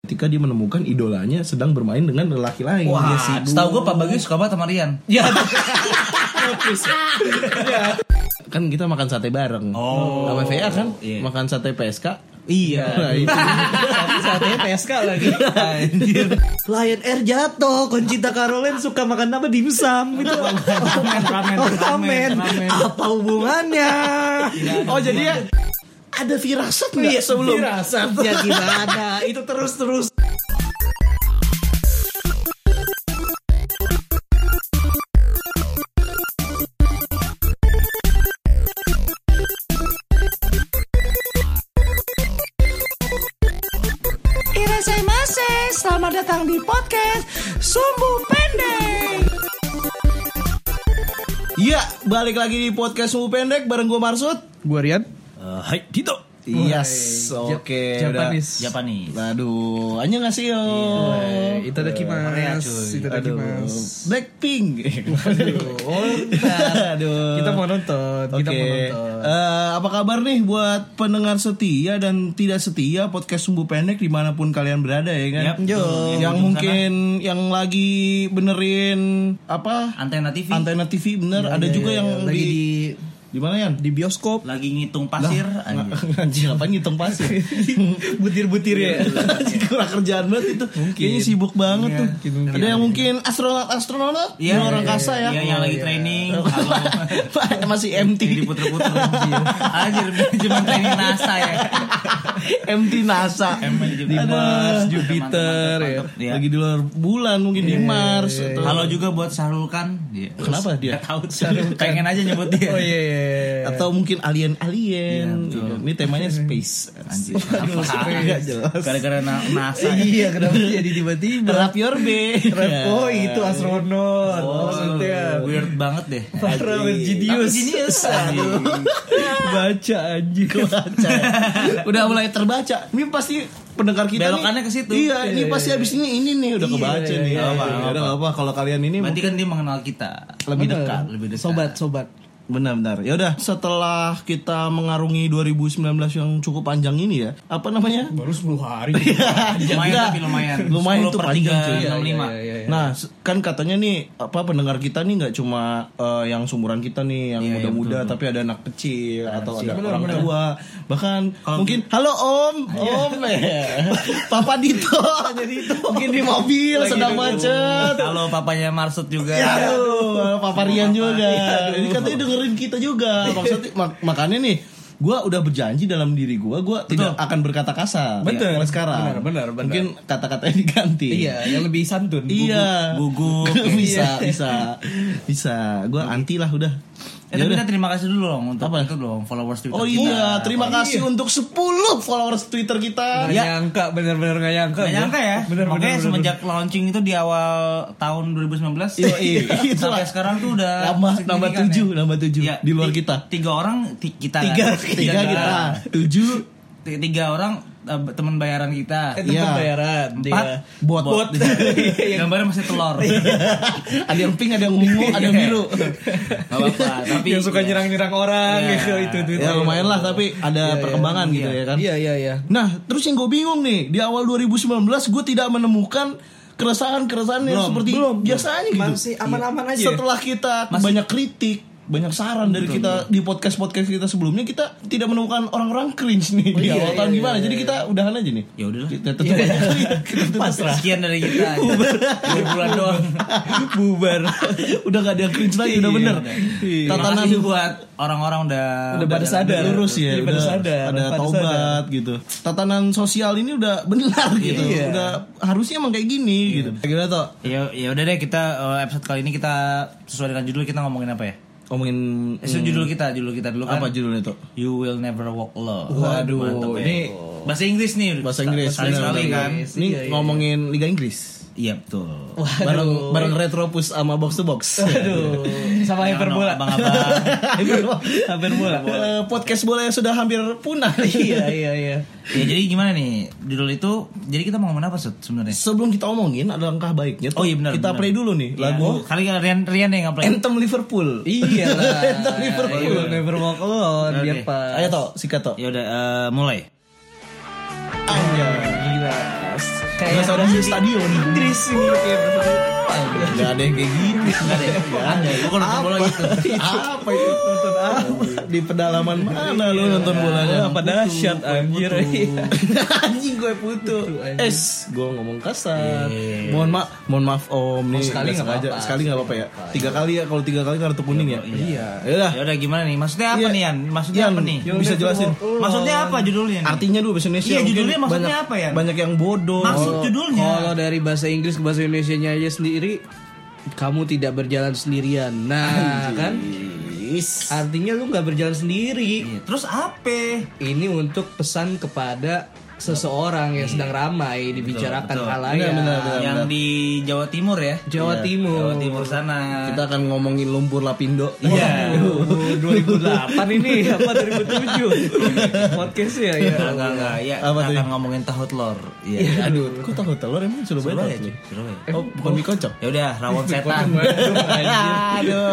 ketika dia menemukan idolanya sedang bermain dengan lelaki lain. Wah, Dia sibuk. setahu gue Pak Bagus suka banget sama Rian. Ya. Please, ya. kan kita makan sate bareng. Oh. Sama VA kan Iya. makan sate PSK. Iya. Nah, itu. Tapi saatnya PSK lagi. Anjir. Lion Air jatuh, Conchita Caroline suka makan apa dimsum gitu. Oh, ramen, ramen, Ramen. ramen. Apa hubungannya? Iya, oh, jadi ya ada firasat nih Iya, sebelum. Iya, Firasat. Ya gimana? Itu terus-terus Irasemase, selamat datang di podcast Sumbu Pendek. Ya, balik lagi di podcast Sumbu Pendek bareng gue Marsud. Gue Rian. Eh, Hai, Tito. Yes, Hai. oke. Ja- udah. Japanese. Japanese. Aduh, anjing ngasih yo. Eh, Itadakimasu. Korea, Iya, cuy. Aduh, Itadakimasu. Blackpink. Oh, Aduh. kita mau nonton, kita Oke. mau nonton. Eh, apa kabar nih buat pendengar setia dan tidak setia podcast sumbu pendek dimanapun kalian berada ya kan? Yap. Yo. Yang mungkin yang lagi benerin apa Antena TV. antena TV bener. Ada juga yang Iya, lagi di di di mana ya? di bioskop Lagi ngitung pasir. anjir. Anjir apa ngitung pasir butir-butir Iya, ya. Anjing, Kurang kerjaan banget itu Kayaknya sibuk banget tuh mungkin, mungkin. Ada yang mungkin astronot-astronot Iya, Yang orang iya, kasa ya Iya, yang lagi training. Halo. Masih Yang empty diputer-puter. anjir. Anjir, cuma training NASA ya. MT NASA Di Aduh. Mars, Iya. Jupiter, ya. Lagi di luar bulan mungkin di Mars atau- Halo juga buat Sarul Khan. Iya. Kenapa dia? Nggak tahu sih. Pengen aja nyebut dia. Oh iya. iya, iya. atau mungkin alien alien. Iya, betul. Ini temanya space. Anjir, kenapa? Nggak jelas. Gara-gara na- NASA. ya. Iya, kenapa jadi tiba-tiba? Rap your Iya. day. Oh, itu astronot. Maksudnya Weird banget deh. Oh, Parah, Oh. Anjing. genius. Tapi Genius. Aduh. baca anjing. Baca ya. Udah mulai terbaca. Ini pasti pendengar kita Belokannya nih- ke situ. Iya, ini pasti abis ini ini nih udah kebaca nih. iya, apa, iya. udah nggak apa kalau kalian ini Berarti kan dia mengenal kita. lebih dekat. Lebih dekat. Sobat, sobat. Benar-benar. Ya udah, setelah kita mengarungi 2019 yang cukup panjang ini ya. Apa namanya? Baru 10 hari. Lumayan Enggak. tapi lumayan. Iya, Lumayan 10 tuh per panjang, 3, cuy. 65. Nah, se- kan katanya nih apa pendengar kita nih nggak cuma eh, yang seumuran kita nih Iya, yang muda-muda, tapi ada anak kecil atau ada orang tua, bahkan mungkin gitu. halo Om, Iya. Om, eh, Papa Dito, mungkin di mobil sedang macet. Iya, Halo papanya Marsud juga. Aduh, Papa Rian juga. Ini katanya dengerin kita juga. Maksudnya mak- makanya nih gue udah berjanji dalam diri gue, gue tidak akan berkata kasar. Iya, Betul. Mulai sekarang. Benar, benar, benar. Mungkin kata-katanya diganti. Iya, yang lebih santun. Iya. Gugup. Gugup. bisa, bisa, bisa. Gue anti lah udah. Eh, Ya tapi udah. kita terima kasih dulu dong untuk itu dong followers Twitter Oh kita. iya, terima kasih untuk 10 followers Twitter kita. Gak nyangka, bener-bener gak Gak nyangka. gua. nyangka ya. Bener-bener. Makanya bener-bener. semenjak launching itu di awal tahun 2019. Iya, iya. Sampai Itulah. sekarang tuh udah Nambah signifikan nambah ya. 7, nambah 7 Iya, di luar ti- kita. Tiga orang ti- kita. kan? Tiga, tiga gitu. kita. Tujuh T- Tiga orang eh, teman bayaran kita. Eh, Iya. tempat bayaran. Empat Iya. bot. bot. Gambarnya masih telur. Iya. ada yang pink, ada yang ungu, Iya. ada yang biru. Gak apa-apa. Tapi yang suka ya. nyerang-nyerang orang Iya. gitu itu itu. Ya lumayan lah, tapi ada perkembangan gitu ya kan. Iya iya iya. Nah, terus yang gue bingung nih, di awal 2019 gue tidak menemukan keresahan-keresahan yang seperti biasanya gitu. Masih aman-aman aja. Setelah kita banyak kritik, banyak saran dari kita di podcast-podcast kita sebelumnya, kita tidak menemukan orang-orang cringe nih di iya, awal iya, tahun iya, gimana. Jadi kita udahan aja nih. Ya udahlah. Kita tetap aja kritik. Pasrah. Sekian dari kita. Dua bulan doang. bubar. udah gak ada yang cringe lagi, Iya. udah bener. Iya, Iya. Tatanan Tatanan buat orang-orang udah Udah pada sadar. lurus ya, Iya, udah pada sadar, ada pada taubat sadar. gitu. Tatanan sosial ini udah benar gitu. Iya. Udah harusnya emang kayak gini gitu. Gimana toh? Ya, ya udah deh kita eh, episode kali ini kita sesuai dengan judul kita ngomongin apa ya? Ngomongin Eh, so, judul kita, judul kita dulu kan. apa judulnya tuh? You will never walk alone. Waduh, Mantep ya. ini bahasa Inggris nih. Bahasa Inggris. Sekali sekali benar-benar. kan. Ini ngomongin Liga Inggris. Iya betul. Bareng bareng Retropus sama Box to Box. Aduh, sama hyperbola. Abang abang. Hyperbola. Eh, Podcast bola yang sudah hampir punah. Iya iya iya. ya jadi gimana nih judul itu? Jadi kita mau ngomongin apa Sud, sebenarnya? Sebelum kita omongin ada langkah baiknya tuh. Oh iya benar. Kita benar. play dulu nih Iya. lagu Kali kan Rian Rian yang nge-play. Anthem Liverpool. Iya lah. Iya, Anthem Liverpool. You will never walk alone. Oke. Biar pas. Ayo toh, sikat toh. Ya udah eh, mulai. Anjay. Gila. nggak saudara sih stadion Tris ini kayak nggak ada yang kayak gitu Ada, gue kalau nonton bola gitu. apa itu nonton apa di pedalaman mana lu nonton bolanya apa dahsyat anjir. Iya. anjing gue putu es gue ngomong kasar mohon maaf mohon maaf om nih sekali nggak nggak sengaja. apa-apa. sekali nggak apa-apa ya tiga kali ya kalau tiga kali kartu kuning ya iya Yaudah Ya udah gimana nih? Maksudnya apa Iya. nih Yan? Maksudnya Yan, apa nih? yang bisa jelasin. Maksudnya apa judulnya? nih? artinya dulu bahasa Indonesia Iya, mungkin judulnya maksudnya banyak- apa ya? banyak yang bodoh Maksud judulnya. Kalau dari bahasa Inggris ke bahasa Indonesia aja sendiri kamu tidak berjalan sendirian. Nah, kan artinya lu nggak berjalan sendiri. Terus apa? Ini untuk pesan kepada seseorang yang sedang ramai dibicarakan Benar, benar, halayak benar. Nah, Yang di Jawa Timur ya? Jawa Jawa Timur. Timur sana. kita akan ngomongin lumpur lapindo Iya. Oh, 2008 ini apa 2007 podcast ya ya. Enggak, enggak, enggak. Ya, Apa kita tuh? akan ngomongin tahu telur. Iya. Iya, aduh kok tahu telur emang sudah Surabaya, banyak cuy. Surabaya. oh bukan mie kocok Ya udah, rawon setan. aduh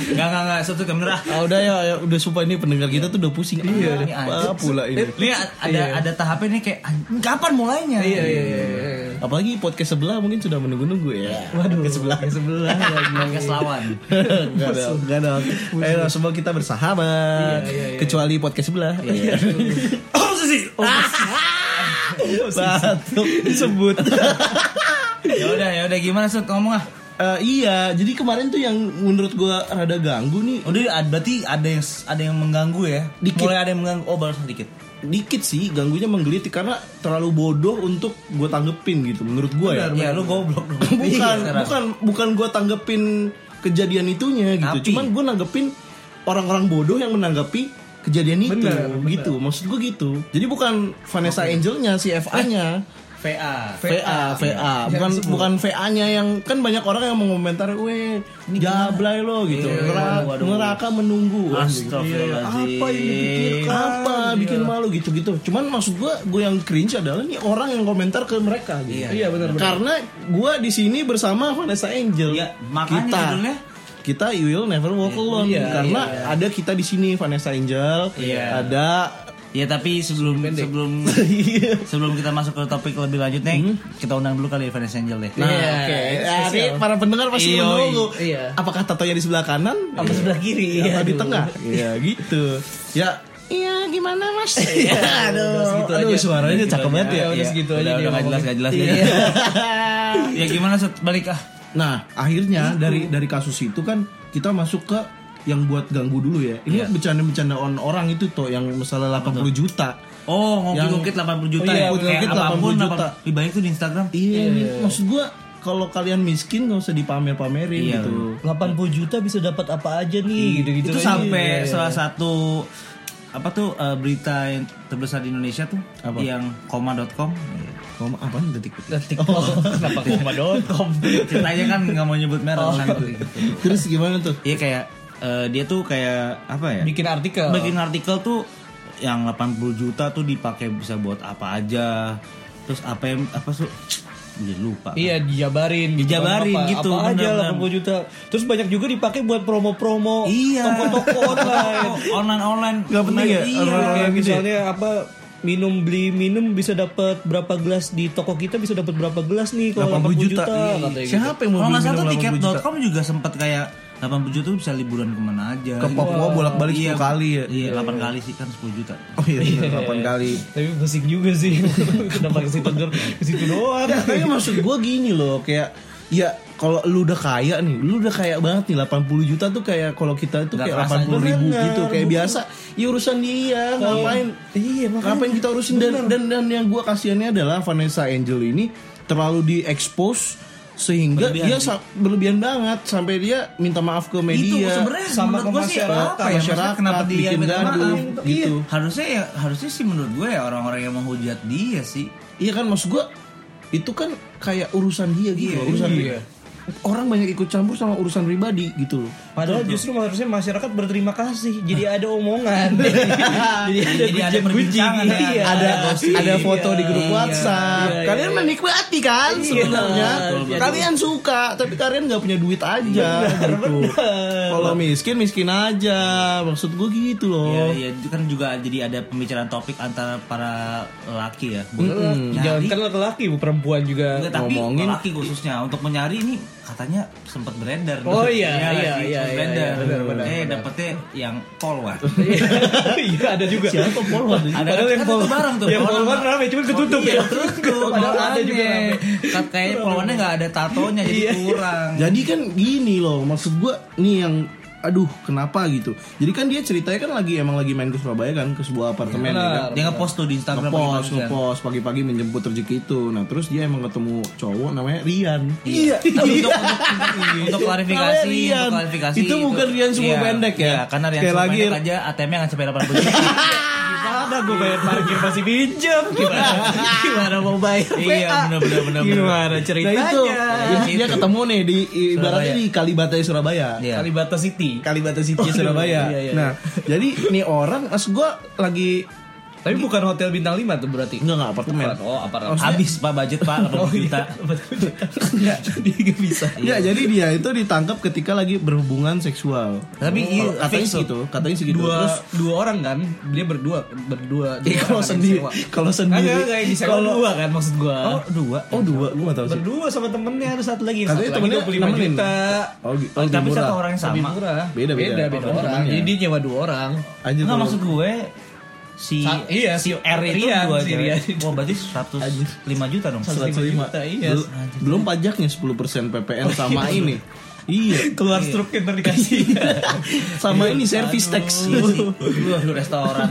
Enggak, enggak, enggak. Satu kamera. Ah, udah ya, ya, udah supaya ini pendengar kita tuh udah pusing iya apa pula ini Ini ada ada tahapnya nih kayak "Anjing, kapan mulainya? Iya iya iya, iya. Apalagi podcast sebelah mungkin sudah menunggu-nunggu ya. Waduh, ke sebelah. Yang sebelah Kan lagi. Podcast lawan. Enggak dong, enggak dong. Ayo dong, semua Eh, ya, kita bersahabat. Kecuali podcast sebelah. Oh, sih. Batuk disebut. Ya udah, ya udah gimana Sud? Ngomong ah. Eh, iya, jadi kemarin tuh yang menurut gua rada ganggu nih Udah ad- berarti ada yang ada yang mengganggu ya. Dikit. Mulai ada yang mengganggu. Oh, baru sedikit. dikit sih ganggunya menggelitik karena terlalu bodoh untuk gue tanggepin gitu menurut gue ya Ya lu goblok dong. bukan Iya, Sekarang. bukan bukan gue tanggepin kejadian itunya gitu Tapi- cuman gue nanggepin orang-orang bodoh yang menanggapi kejadian itu gitu maksud gue gitu jadi bukan Vanessa Angelnya si FA nya VA. VA, VA, bukan bukan VA-nya yang kan banyak orang yang mengomentari, weh, jablay lo gitu, Nera- neraka menunggu. kan, gitu. Astagfirullahaladzim. Iya. Apa yang dipikirkan? Apa bikin malu gitu-gitu. Cuman maksud gua, gua yang cringe adalah nih orang yang komentar ke mereka gitu. Iya, benar Karena gua di sini bersama Vanessa Angel. Iya, makanya kita. judulnya. Kita You Will Never Walk Alone karena ada kita di sini Vanessa Angel, Iya. ada Ya tapi sebelum sebelum Iya. sebelum kita masuk ke topik lebih lanjutnya, kita undang dulu kali ya Vanessa Angel deh. Hmm? Nah, oke. Jadi para pendengar pasti Iya, menunggu. iya. Apakah tatonya di sebelah kanan? Iya. Apa Sebelah kiri. Atau di tengah? Iya, gitu. Ya, gitu Iya gimana mas? aduh, aduh suaranya cakep banget ya. udah segitu aja udah, dia Iya. udah nggak jelas, nggak jelas. ya. ya gimana Sud? Balik ah. Nah, akhirnya dari dari kasus itu kan kita masuk ke yang buat ganggu dulu ya. Ini bercanda-bercanda on orang itu tuh yang misalnya 80 juta. Oh, ngungkit-ngungkit 80 juta Oh, iya, ya. ngungkit-ngungkit Kayak apapun 80 juta. juta. Lebih banyak tuh di Instagram. Iya, ini maksud gua kalau kalian miskin gak usah dipamer-pamerin Iya. gitu. 80 juta bisa dapat apa aja nih gitu-gitu. itu sampai salah satu apa tuh eh, berita yang terbesar di Indonesia tuh yang koma.com Ngomong apaan detik? Nah, Kenapa koma dong? ceritanya kan nggak mau nyebut merek Oh. kan. Terus gimana tuh? Iya kayak eh, dia tuh kayak apa ya? Bikin artikel. Bikin artikel tuh yang 80 juta tuh dipakai bisa buat apa aja. Terus apa yang apa tuh? Dia lupa. Iya dijabarin gitu. Dijabarin Apa- gitu, Apa aja benar-benar. 80 juta Terus banyak juga dipakai buat promo-promo Iya. Toko-toko online online online. Nggak penting ya? Iya. Orang-orang Kayak yang gede. misalnya apa Minum beli minum bisa dapat berapa gelas Di toko kita bisa dapat berapa gelas nih Kalau 80 juta, katanya gitu. iya. Siapa yang mau Kalau nggak beli minum salah tuh 80 juta? tiket.com juga sempat kayak 80 juta tuh bisa liburan kemana aja. Ke Papua bolak-balik 10 kali ya? Iya, 8 kali sih kan 10 juta. Oh iya, 8 kali. gitu. Tapi pusing juga sih Kenapa ke situ ger- ke situ doang Nggak, tapi Ya, maksud gue gini loh, kayak ya kalau lu udah kaya nih, lu udah kaya banget nih 80 juta tuh kayak kalau kita tuh Nggak kayak kerasa kan? 80 ribu juga. gitu, kayak biasa. Ya urusan dia, ngapain? Iya, makanya. ngapain kita urusin dan dan dan yang gue kasihannya adalah Vanessa Angel ini terlalu diekspos sehingga dia sa- berlebihan banget sampai dia minta maaf ke Itu media sebenarnya sama menurut gua ke sih apa masyarakat, ya? Maksudnya masyarakat, kenapa dia bikin minta gaduh, maaf? gitu. Iya. Harusnya ya harusnya sih menurut gue ya orang-orang yang menghujat dia sih. Iya kan maksud gua itu kan kayak urusan dia gitu, loh, urusan dia. orang banyak ikut campur sama urusan pribadi gitu loh. Padahal justru harusnya masyarakat berterima kasih. Jadi ada omongan. jadi ada Jadi ada gujian-gujian. perbincangan ya. Iya. ada ada foto di grup Iya. WhatsApp. Iya, iya, kalian iya. menikmati kan sebenarnya. betul, betul. Kalian suka, tapi kalian nggak punya duit aja gitu. Kalau miskin miskin aja. Maksud gue gitu loh. Iya, iya, itu kan juga jadi ada pembicaraan topik antara para laki ya. Nyari- Jangan kan laki-laki, perempuan juga. Enggak, tapi ngomongin- laki khususnya untuk mencari ini katanya sempat beredar. Oh, iya, Ya, iya, sempat iya, iya, beredar. iya, benar, benar, eh benar. dapetnya yang polwan. Iya ada juga. Siapa polwan? Ada Padahal yang Iya, yang polwan- barang tuh. yang polwan rame, cuman ketutup ya. Iya, ketutup. Padahal ada Polwannya. juga rame. Kat- Kayaknya Eh, polwannya nggak ada tatonya jadi kurang. Jadi kan gini loh, maksud gua nih yang aduh kenapa gitu. Jadi kan dia ceritanya kan lagi emang lagi main ke Surabaya kan ke sebuah apartemen ya, kan. Dia ngepost tuh di Instagram Ngepost, pagi-pagi kan. ngepost pagi-pagi menjemput rezeki itu. Nah terus dia emang ketemu cowok namanya Rian. Iya. Tapi untuk, untuk, untuk klarifikasi, Namanya Rian. untuk klarifikasi Itu bukan Rian semua iya, pendek ya? iya, karena Rian Sekali semua lagi- pendek aja ATM-nya nggak sampai 80 juta. Ada gue bayar parkir masih pinjam. Gimana mau bayar? Iya, benar-benar benar. Gimana Nah ceritanya? itu, iya. Jadi dia ketemu nih di ibaratnya di Kalibata Surabaya. Gitu. Iya. Kalibata City. Kalibata City Surabaya. iya, iya. Nah, jadi nih orang mas gua lagi Tapi bukan hotel bintang 5 tuh berarti. enggak enggak apartemen. Oh, apartemen. Habis Pak budget Pak 80 iya, juta. Enggak, dia nggak bisa. iya. Ya, jadi dia itu ditangkap ketika lagi berhubungan seksual. Tapi Oh, iya, katanya fix tuh. segitu, katanya segitu. Dua Terus dua orang kan, dia berdua berdua. Iya, kalau dua orang yang sendiri- sewa. kalau sendiri- Enggak, enggak yang disewa kalau- dua kan maksud gua. Oh, dua. oh dua, gua gak tahu sih. berdua sama temennya ada satu lagi Katanya satu lagi temennya 25 nemenin. juta Oh, gitu. Oh, Tapi lebih satu murah. orang yang lebih sama. murah Beda, beda. beda, beda Oh, orang temennya. jadi dia nyewa dua orang Anjir, Enggak bro. maksud gue si Sa- iya, si R itu Rian, dua si cewek. Rian. Wah, berarti 105 juta dong. 105. juta, iya. Bel- belum pajaknya 10% Oh, PPN sama ini. Iya, keluar struk yang dikasih Iya. sama ini service tax. Lu restoran.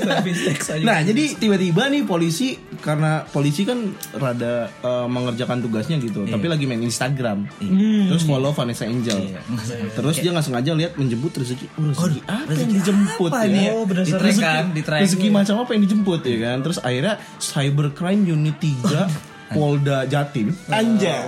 service tax aja Nah, jadi tiba-tiba nih polisi karena polisi kan rada eh, mengerjakan tugasnya gitu, Iya. tapi lagi main Instagram. Hmm. Terus follow Vanessa Angel. Iya, Terus dia nggak sengaja lihat menjemput rezeki. Oh, rezeki apa yang dijemput apa ya? nih? Oh, Di berdasarkan rezeki, kan, di track. rezeki macam apa yang dijemput ya kan? Terus akhirnya Cybercrime Unit 3 Polda Jatim Oh, Anjay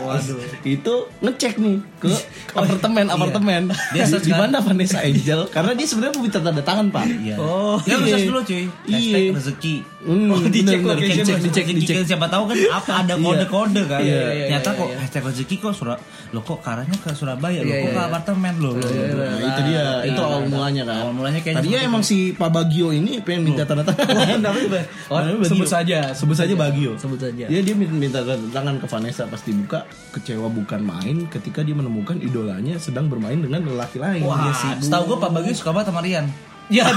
Itu ngecek nih Ke apartemen Apartemen iya. Dia Di- Di search kan? mana Vanessa Angel Karena dia sebenarnya mau minta tanda tangan pak Iya. Oh, ya lu iya. search dulu cuy. Hashtag Iya. rezeki. Oh, Hmm, dicek bener-bener. location, Dicek, dicek, Rezeki dicek. kan siapa tahu kan apa ada kode-kode kan. Iya, iya, iya, Nyata iya, kok iya. hashtag rezeki kok Surab lo kok karahnya ke Surabaya, lo Iya, kok iya, ke iya. apartemen lo. lo. Nah, itu dia, itu awal mulanya kan. Awal mulanya gitu. Hmm. kayaknya Tadinya seperti emang si Pak Bagio ini pengen minta tanda tangan. Oh, Namanya sebut Bagio. saja Sebut saja Bagio. sebut saja Dia dia minta minta tanda tangan ke Vanessa pas dibuka kecewa bukan main ketika dia menemukan idolanya sedang bermain dengan lelaki lain. Dia Wah, Iya, sibuk. setahu gue Pak Bagus suka banget sama Rian. ya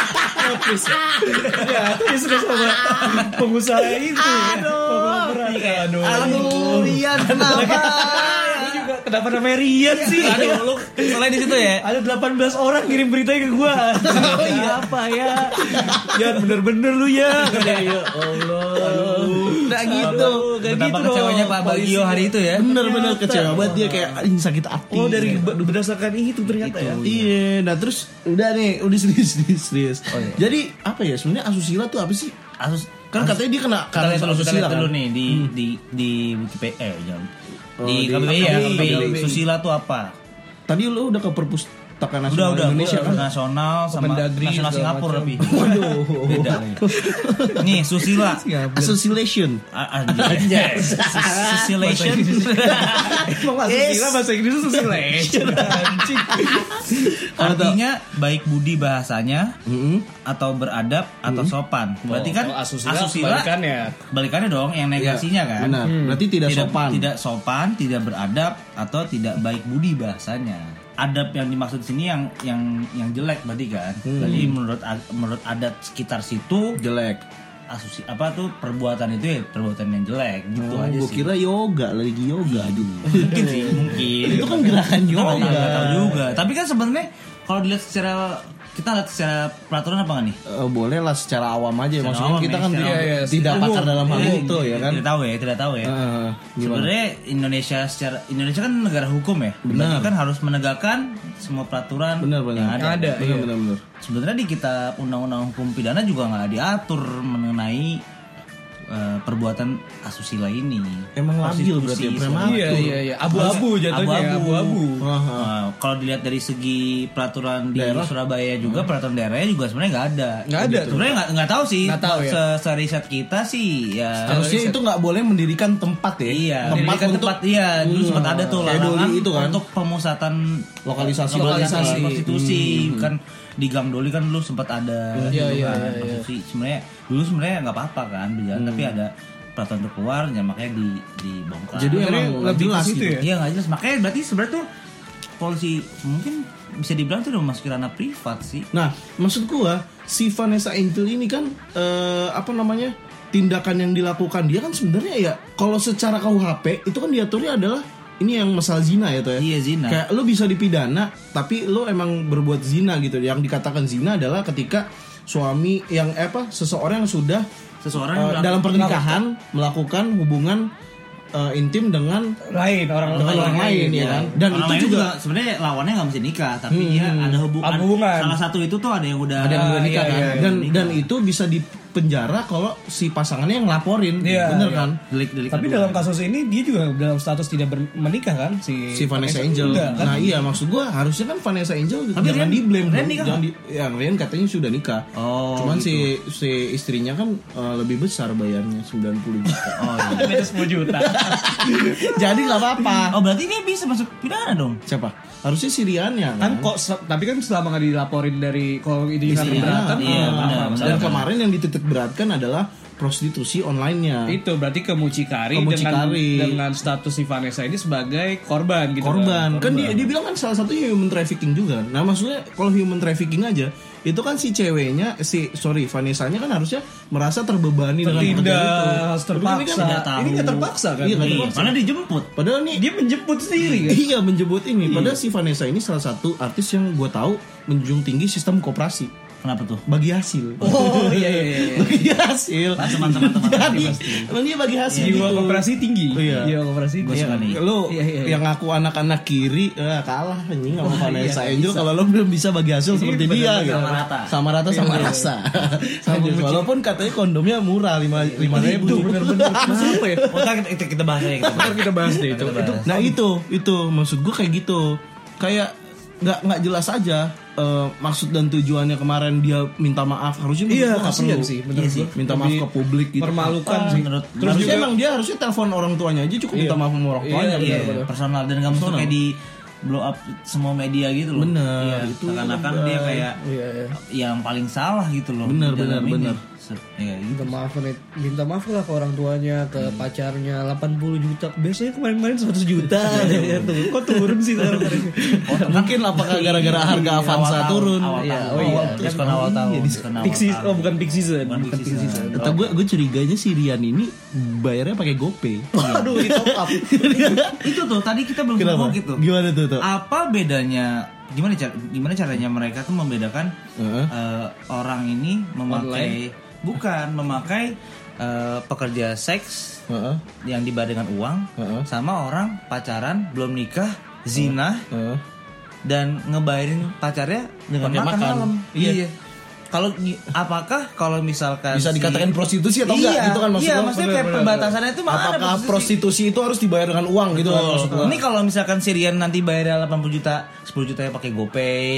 please ya please terus sama pengusaha itu aduh Iya. aduh Aduh, Rian kenapa? Lu juga kenapa namanya Rian sih? Iya. Aduh, lu mulai di situ ya. Ada 18 orang kirim beritanya ke gua. Oh, iya. Apa ya? Ya bener-bener lu ya. Ya Allah. Nah gitu. Betapa kecewanya Pak Bagio hari itu ya. Bener-bener kecewa banget dia kayak "Anjing, sakit hati. Oh dari berdasarkan itu ternyata ya. Iya, nah terus udah nih, udah serius, serius, serius. Oh, iya. Jadi apa ya sebenarnya asusila tuh apa sih? Asus Kan katanya dia kena kita karena lihat dulu, kita asusila lihat dulu kan. nih di di di Wikipedia eh jangan. di di- KBBI ya, KBBI. KBBI. Susila tuh apa? Tadi lu udah ke perpustakaan Udah nasional udah Indonesia gua kan? nasional sama Kemendagri nasional segala Singapura macam. lebih. Beda nih. Nih Susila. Iya. Association. A- Anjay. Susilation. Emang asusila bahasa Inggris itu selection. Artinya baik budi bahasanya atau beradab atau sopan. Berarti kan kebalikannya. Balikannya dong yang negasinya kan. Iya. Benar. Berarti tidak, sopan. tidak sopan, tidak beradab atau tidak baik budi bahasanya. Adab yang dimaksud di sini yang yang yang jelek berarti kan. Jadi menurut a- menurut adat sekitar situ jelek. asusi apa tuh perbuatan itu ya perbuatan yang jelek gitu Oh, aja gue sih. kira yoga lagi yoga aduh. mungkin sih, mungkin. Itu kan gerakan Nggak tahu- yoga. nggak tahu juga. Tapi kan sebenarnya kalau dilihat secara kita lihat secara peraturan apa nggak nih? Eh, boleh lah secara awam aja maksudnya awam kita ya, kan secara tidak, awam. tidak Umum. pakar dalam hal Iya, itu ya kan. Tidak tahu ya, tidak tahu ya. Eh, gimana? Sebenarnya Indonesia secara Indonesia kan negara hukum ya. Benar. Berarti kan harus menegakkan semua peraturan Benar benar. yang ada. iya. Yang ada. Benar benar benar. Sebenarnya di kitab undang-undang hukum pidana juga nggak diatur mengenai eh, perbuatan asusila ini. Emang labil Prostitusi, berarti ya, istilahnya. prematur. Iya iya iya, abu-abu jatuhnya, abu-abu. Aha. Nah, kalau dilihat dari segi peraturan di Daerah. Surabaya juga peraturan daerahnya juga sebenarnya nggak ada. Gitu. Nggak ada tuh. Sebenarnya nggak nggak tahu sih. Nggak tahu ya. Se- Seriset kita sih ya. Harusnya itu nggak boleh mendirikan tempat ya. Iya, Tempat Pendidikan untuk tempat iya dulu Hmm. sempat ada tuh Kayak larangan Doli itu kan. untuk pemusatan Lokalisasi. Hmm. lokalisasi Lokalisasi. prostitusi kan di Gang Doli kan dulu sempat Hmm. ada Iya, gitu iya, kan, iya, iya. prostitusi sebenarnya dulu sebenarnya nggak apa-apa kan berjalan Hmm. tapi ada peraturan terkeluar ya makanya di dibongkar Jadi Sebenarnya emang nggak lebih ke jelas situ gitu. ya? Iya nggak jelas makanya berarti sebenarnya tuh polisi mungkin bisa dibilang tuh udah memasuki ranah privat sih Nah, maksud gua si Vanessa Angel ini kan eh, apa namanya? tindakan yang dilakukan dia kan sebenarnya ya kalau secara KUHP itu kan diaturnya adalah ini yang masalah zina ya tuh ya. Iya, zina. Kayak lu bisa dipidana tapi lu emang berbuat zina gitu. Yang dikatakan zina adalah ketika suami yang eh, apa seseorang yang sudah seseorang eh, yang dalam pernikahan melakukan hubungan eh, intim dengan Lain iya orang dengan orang lain ya kan. Dan Orang lain itu juga sebenarnya lawannya nggak mesti nikah tapi dia ada hubungan, Ada hubungan. salah satu itu tuh ada yang udah ada yang udah nikah iya, kan iya, dan dan itu bisa dipenjara kalau si pasangannya yang ngelaporin Iya, bener iya. kan delik-delik Tapi kedua. dalam kasus ini dia juga dalam status tidak ber- menikah kan si si Vanessa Angel Udah, kan? nah iya maksud gua harusnya kan Vanessa Angel Tapi jangan Rian- di blame Rian nikah jangan di, yang Rian katanya sudah nikah Oh, cuman si si istrinya kan eh, lebih besar bayarnya 90 juta Oh, gitu. iya. Beda 10 juta. jadi nggak apa-apa oh berarti dia bisa masuk pidana dong. siapa harusnya si Riannya kan kok se- tapi kan selama nggak dilaporin dari kalau itu juga Istrinya. keberatan Iya, nggak benar, apa-apa. benar. dan kemarin yang dititik beratkan adalah prostitusi online-nya itu berarti ke mucikari, Ke mucikari. dengan dengan status si Vanessa ini sebagai korban gitu korban. kan. Kan dia, dia bilang kan salah satunya human trafficking juga. Nah maksudnya kalau human trafficking aja itu kan si ceweknya si sorry Vanessa-nya kan harusnya merasa terbebani dengan pekerjaan itu. tidak harus Tapi kan ini terpaksa kan- nggak tahu. ini nggak terpaksa kan Iya, nggak Iya, terpaksa. Karena dijemput. Padahal nih dia menjemput sendiri kan iya menjemput ini. Padahal si Vanessa ini salah satu artis yang gue tahu menjunjung tinggi sistem koperasi Kenapa tuh? bagi hasil. oh iya iya iya bagi hasil. Pasti, teman-teman, teman-teman, Jadi, pasti. emang dia bagi hasil jiwa gitu. koperasi tinggi Iya. jiwa koperasi Gua tinggi suka nih. Lo Iya, iya, iya. yang ngaku anak-anak kiri eh, kalah anjing sama Vanessa iya, Angel kalau lo belum bisa bagi hasil seperti dia bener-bener gitu. sama rata. Sama rata Iya, sama rasa. Sama walaupun katanya kondomnya murah 5 Iya, ribu. bener-bener apa ya Oh, ntar kita, kita bahas aja kita. Ntar kita bahas deh itu. itu Nah itu itu maksud gue kayak gitu. Kayak nggak nggak jelas aja eh, maksud dan tujuannya kemarin dia minta maaf harusnya menurut Iya, gua nggak kasihan perlu. sih, bener Iya gua. sih, minta maaf Lebih ke publik gitu Permalukan sih Ah, menurut- Terus harusnya juga emang dia harusnya telepon orang tuanya aja cukup minta maaf sama orang tuanya Iya, bener. personal dan kamu tuh kayak di blow up semua media gitu loh. Bener, Iya, itu seakan-akan dia kayak Iya, yang paling salah gitu loh. Bener, di bener, dalam ini. bener. Se- Iya, gitu. Minta maaf nih, minta maaf lah ke orang tuanya, ke Hmm. pacarnya 80 juta. Biasanya kemarin-kemarin 100 Iya, juta. ya, tuh. Kok turun sih sekarang? Oh, mungkin apakah gara-gara harga Iya, Avanza awal tahun, turun Awal Iya. tahun. oh iya Diskon kan awal tahun. Diskon awal peak season, tahun. oh bukan peak season. Bukan iya. peak season. Kata gue, gue curiganya si Rian ini bayarnya pakai GoPay. Aduh, di top up. Itu tuh tadi kita belum Kenapa? ngomong gitu. Gimana tuh tuh? apa bedanya gimana cara gimana caranya mereka tuh membedakan Heeh. eh, orang ini memakai bukan memakai eh, pekerja seks Heeh. yang dibayar dengan uang Heeh. sama orang pacaran belum nikah zina Heeh. dan ngebayarin pacarnya dengan Pakai makan, makan. malam Iya. kalau gi- apakah kalau misalkan Bisa si- dikatakan prostitusi atau enggak Iya, gitu kan maksud iya, lo? maksudnya kayak perbatasannya itu mana Apakah prostitusi itu harus dibayar dengan uang gitu kan maksud lo? Ini kalau misalkan Sirian nanti bayar 80 juta, 10 jutanya pakai GoPay,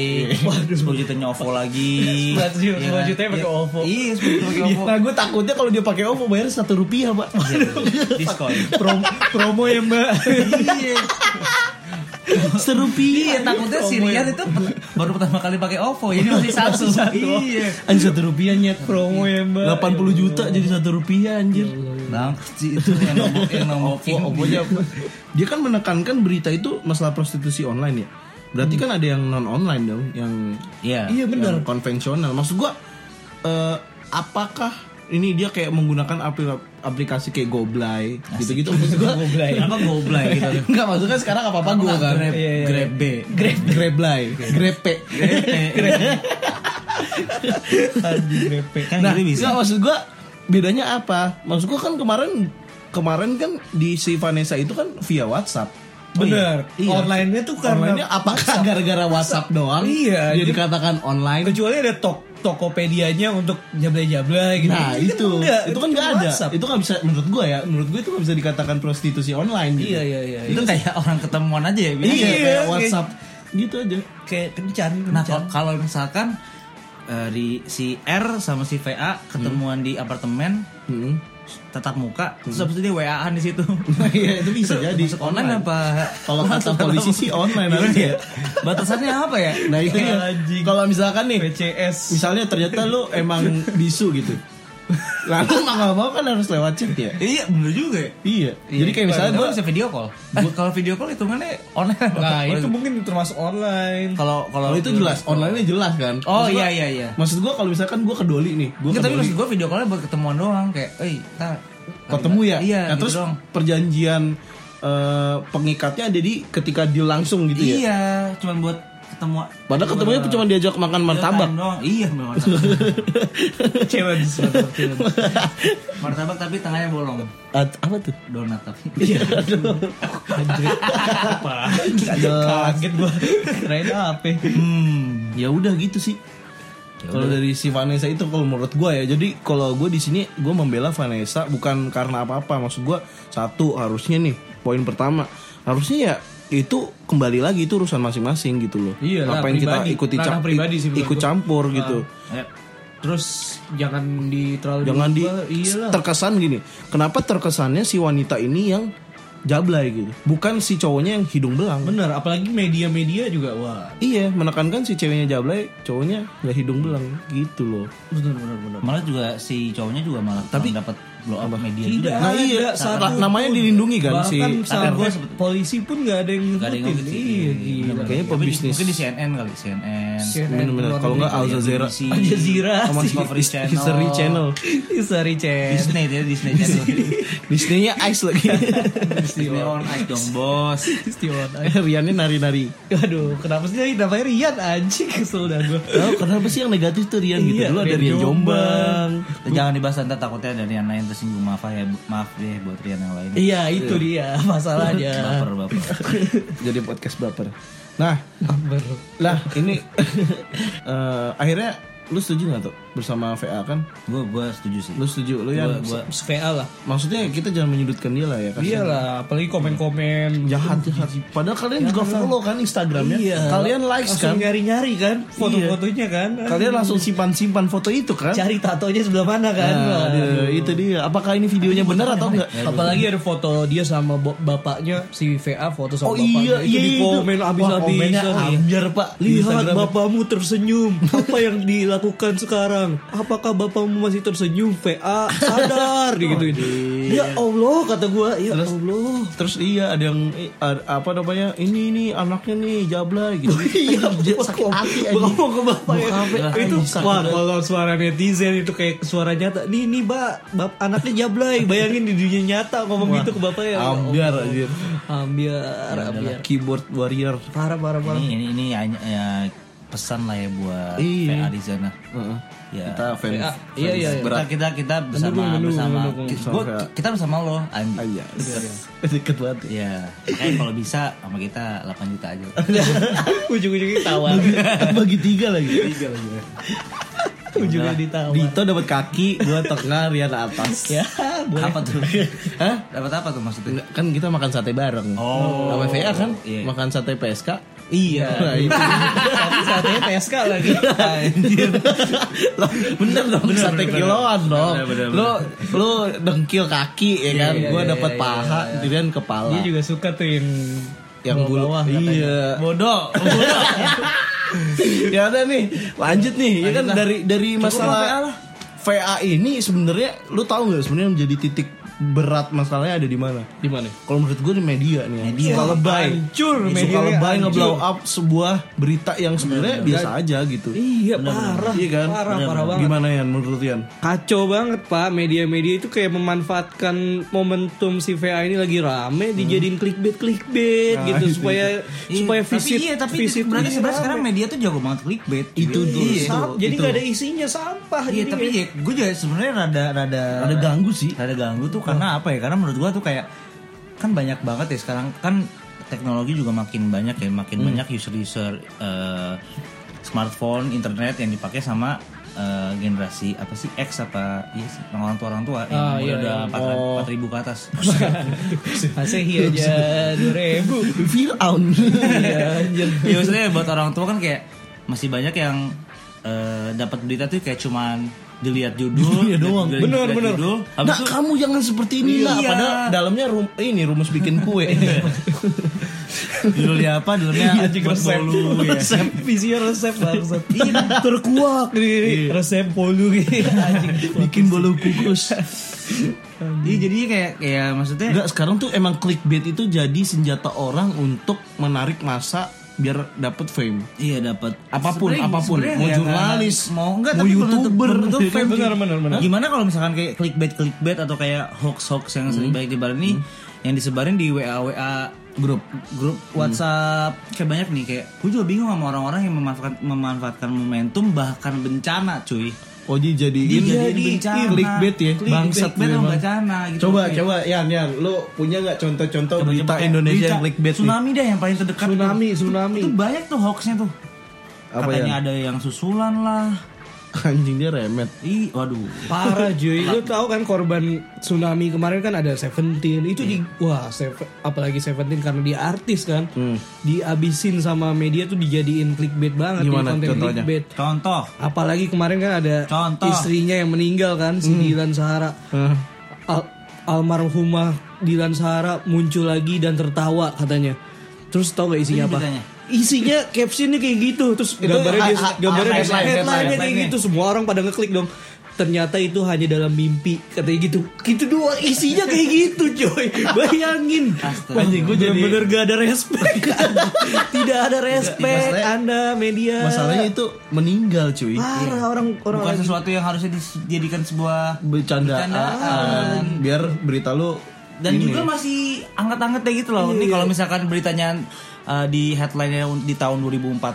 10 jutanya OVO lagi. kan? 10 juta- 10 jutanya pakai OVO. Iya, 10 juta pakai OVO. Nah gue takutnya kalau dia pakai OVO bayar satu rupiah pak. iya. Iya. Diskon. Prom- promo ya mbak. Iya. Serupiah. Iya, takutnya Oh, Sirian itu per- baru pertama kali pakai OVO, ini masih satu. Iya. Anjir satu rupiah nyet. promo ya mbak. 80 juta jadi satu rupiah anjir. Bang, si itu yang nomor yang nomor Wah, pokoknya apa? Iya, dia kan menekankan berita itu masalah prostitusi online ya. Berarti kan ada yang non online dong, yang Iya. iya benar konvensional. Maksud gua eh, apakah ini dia kayak menggunakan apli- aplikasi kayak Goblay gitu-gitu maksud gua. Apa goblay gitu. Enggak maksudnya sekarang apa-apa gua kan. Grab, Iya, iya. grab B. Grab Grablay, Grepe. Kan Nah, gitu bisa. nggak, maksud gua bedanya apa? Maksud gua kan kemarin kemarin kan di si Vanessa itu kan via WhatsApp. Bener. Iya. Online-nya tuh karena Online-nya apakah gara-gara WhatsApp doang? Iya, Dia jadi- dikatakan online. kecuali ada talk Tokopedia-nya untuk jabla-jabla gitu. Nah Ini kan itu, enggak, itu kan nggak cuma ada. WhatsApp. Itu kan bisa menurut gue ya, menurut gue itu nggak bisa dikatakan prostitusi online gitu. Iya iya iya. itu kayak orang ketemuan aja ya bilang. Iya, Iya, kayak WhatsApp gitu aja. Kayak kencan, Nah kencan. kalau- kalau misalkan eh, di si R sama si VA ketemuan di apartemen Hmm. tatap muka terus habis itu dia WA-an di situ. Iya itu bisa Itu jadi masuk online, apa? Kalau kata polisi sih online Gimana harusnya. ya? Batasannya apa ya? Nah itu dia. Kalau misalkan nih, PCS. misalnya ternyata lu emang bisu gitu. Lalu mau nggak mau kan harus lewat chat ya. Iya bener juga. ya. Iya. Jadi kayak misalnya Padahal gue bisa video call. Eh, kalau video call hitungannya online. Nah, itu mungkin termasuk online. kalau kalau kalau itu jelas, online-nya jelas kan. Oh Maksud gua- iya iya iya. Maksud gue kalau misalkan gue ke Doli nih, gue ke Enggak, tapi Doli. maksud gue video callnya buat ketemuan doang kayak, eh, kita ketemu ya. Iya, nah, gitu terus doang. perjanjian eh, pengikatnya ada di ketika di langsung gitu ya. Iya, cuman buat ketemu. Padahal ketemunya Cuman- cuma diajak makan martabak. Real time doang. Iya, memang martabak. Challenge. Iya, kan? martabak tapi tengahnya bolong. At- apa tuh? Donat tapi. Iya. Iya. Nggak jelas. Kaget gua. Kirain ya. apa? Hmm. Ya udah gitu sih. Ya Kalau dari si Vanessa itu kalau menurut gue ya, jadi kalau gue di sini gue membela Vanessa bukan karena apa-apa, maksud gue satu harusnya nih poin pertama harusnya ya itu kembali lagi itu urusan masing-masing gitu loh. Iya, ranah Ngapain kita pribadi. ikuti Ranah campur, pribadi sih menurut ikut gua. Nah, campur gitu. Eh, Terus jangan di terlalu Jangan di diubah, iyalah. terkesan gini. Kenapa terkesannya si wanita ini yang jablay gitu, bukan si cowoknya yang hidung belang. Bener, apalagi media-media juga wah. Iya, menekankan si ceweknya jablay, cowoknya nggak hidung belang gitu loh. Bener bener bener. Malah juga si cowoknya juga malah tapi dapat blow up media juga. Tidak Nah, ada iya, satu nah, namanya pun. dilindungi kan Bahkan si sama ARD sebetulnya. polisi pun nggak ada yang Gak ada yang ngikutin. ngikutin. Iya, Iya, gila. Kayaknya Mungkin di- pebisnis. Mungkin di CNN kali, CNN. Bener-bener, luar kalau nggak negeri. Aljazeera. Iya, BBC. Al Jazeera Sama sih. Discovery Channel. History Channel. Sorry, Cen. Disney dia Disney Channel. Disney-nya ice lagi. Disney on Ice dong, Bos. Istiwan. Eh, Riannya nari-nari. Aduh, kenapa sih ini namanya Rian anjing kesel dah gue. Tahu kenapa sih yang negatif tuh Rian gitu? Iya, Dulu ada Rian Rian Jombang. Jangan dibahas nanti takutnya ada yang lain tersinggung maaf ya, Bu. maaf deh buat Rian yang lain. Iya, itu dia masalahnya. Baper baper. Jadi podcast baper. Nah, lah ini eh, akhirnya lu setuju nggak tuh bersama VA kan? Gue gue setuju sih. Lu setuju lu yang Gua- gua- VA lah. maksudnya kita jangan menyudutkan dia lah ya kasihan. Iya lah, apalagi komen-komen Jahat jahat. Padahal kalian juga follow kan Instagramnya. Kalian likes Iya. Langsung kan? nyari-nyari kan foto-fotonya kan. Kalian langsung simpan-simpan foto itu kan? cari tatonya sebelah mana kan. Nah, aduh, itu dia. Apakah ini videonya benar atau enggak? Apalagi ada foto dia sama bo- bapaknya si VA foto sama Oh iya, bapaknya itu iya di komen itu. Wah, abis-abisan. komennya ambiar, Pak. Di Lihat Instagram. bapakmu tersenyum. Apa yang dilakukan sekarang? Apakah bapakmu masih tersenyum? VA sadar gitu Ya Allah kata gua, ya Allah. Terus iya ada yang eh, ada- apa namanya ini ini anaknya nih jabla gitu. iya sakit hati aja. Ngomong ke bapak ya. Bokap ya, itu anjing, sakit wah banget. kalau suara netizen itu kayak suara nyata. Nih nih Mbak, bap, anaknya jablay. Bayangin di dunia nyata ngomong gitu ke bapak ya. Ambiar anjir. Ambiar, ambiar. Keyboard warrior. Parah, parah, parah. Ini ini ini hanya- ya, pesan lah ya buat Iya. VA di sana. Heeh. Ya. Kita fan. VA. Iya, iya, iya. Berat. Kita kita kita bersama bersama. mendukung. Gua- kita bersama lo, Anji. Iya, Aja. Deket banget. ya. Ya, eh kalau bisa sama kita 8 juta aja. Iya. Ujung-ujungnya tawar. Bagi tiga lagi. ya. Ujungnya ditawar. Dito dapat kaki, gua tengah, Rian atas. Ya, boleh. apa tuh? Hah? Dapat apa tuh maksudnya? Enggak, Kan kita makan sate bareng. Oh. Sama VA kan? Iya. Makan sate PSK. Iya. Nah, itu. Tapi saatnya PSK lagi. Anjir. Loh, bener dong Bener, sate bener, bener. kiloan dong Bener, bener, bener. lo lo dengkil kaki ya kan iya, gue iya, dapat iya, paha dirian kepala Dia juga suka tuh yang yang bulu bawah-bawah katanya. iya Bodoh. ya udah nih lanjut nih ya kan dari dari masalah VA ini sebenarnya lu tahu nggak sebenarnya menjadi titik berat masalahnya ada di mana Di mana? kalau menurut gue di media nih ya. Media. suka lebay Hancur, suka media ya, lebay hancur. nge-blow up sebuah berita yang sebenarnya biasa aja gitu Iya, parah. iya kan Parah, Bener, parah bener. banget. gimana Yan menurut Yan Kacau banget pak media-media itu kayak memanfaatkan momentum si VA ini lagi rame dijadiin clickbait clickbait Hmm. Nah, itu, gitu Iya. supaya supaya visit tapi iya, tapi visit berarti ini sebenarnya rame. sekarang media tuh jago banget clickbait. Itu Iya. tuh, Iya. itu. Sam- jadi nggak ada isinya sampah Iya jadinya. tapi ya, gue juga sebenarnya rada rada Rada ganggu sih. Rada ganggu tuh karena apa ya? Karena menurut gue tuh kayak kan banyak banget ya sekarang kan teknologi juga makin banyak ya, makin banyak user user smartphone, internet yang dipakai sama eh, generasi apa sih X apa iya sih, orang tua orang tua yang Ah, umurnya iya, udah iya. empat empat ribu ke atas. Masehi aja 2000 Fir'aun. Iya anjir ya maksudnya buat orang tua kan kayak masih banyak yang eh, dapat berita tuh kayak cuman dilihat judul, Iya doang. dilihat- Bener, dilihat bener. Judul, habis Nah, itu kamu jangan seperti ini lah. Iya. Padahal dalamnya rum ini rumus bikin kue. judulnya apa? Judulnya Iya, buat bolu, ya. resep visinya resep Iya. bangsat terkuak nih resep polu gitu bikin bolu kukus. Iya jadi kayak kayak maksudnya Enggak, sekarang tuh emang clickbait itu jadi senjata orang untuk menarik masa biar dapat fame. iya dapat ya, Apapun, apapun. Mau jurnalis, kan? mau enggak mau tapi youtuber. itu Iya, fame. benar, benar, benar. Gimana kalau misalkan kayak clickbait clickbait atau kayak hoax hoax Hmm. yang sering banyak dibarin nih yang disebarin di WA WA grup grup Hmm. WhatsApp kayak banyak nih kayak gue juga bingung sama orang-orang yang memanfaatkan memanfaatkan momentum bahkan bencana cuy. Oh jadi Dijadiin bencana. iya, clickbait ya. Bangsat Bangsat banget memang. bencana gitu. Coba Kayak- coba Yan Yan, lu punya nggak contoh-contoh Coba berita kayak Indonesia berita yang clickbait nih? tsunami deh yang paling terdekat tuh. Tsunami, Itu- tsunami. itu banyak tuh hoaxnya tuh Apa katanya ya? ada yang susulan lah Anjing dia remet. ih waduh parah cuy lu tahu kan korban tsunami kemarin kan ada Seventeen itu di wah Seven- apalagi Seventeen karena dia artis kan diabisin sama media tuh dijadiin clickbait Gimana banget jadi konten contohnya? clickbait contoh apalagi kemarin kan ada Contoh. istrinya yang meninggal kan si Dilan Sahara Al- almarhumah Dilan Sahara muncul lagi dan tertawa katanya terus tau gak isinya apa beritanya. isinya captionnya kayak gitu terus gambarnya dia ah, ah, gambarnya ah, headline, dia headline-nya headline, kayak headline-nya. gitu semua orang pada ngeklik dong ternyata itu hanya dalam mimpi katanya gitu gitu doang isinya kayak gitu coy bayangin Astaga. Wah, gue jadi bener gak ada respect tidak ada respect Masalahnya- anda media Masalahnya itu meninggal cuy. parah orang orang bukan lagi- sesuatu yang harusnya dijadikan sebuah Bercandaan. Bercandaan. Biar berita lu dan juga masih anget-anget deh gitu loh Iya. ini kalau misalkan beritanya uh, di headline di tahun 2044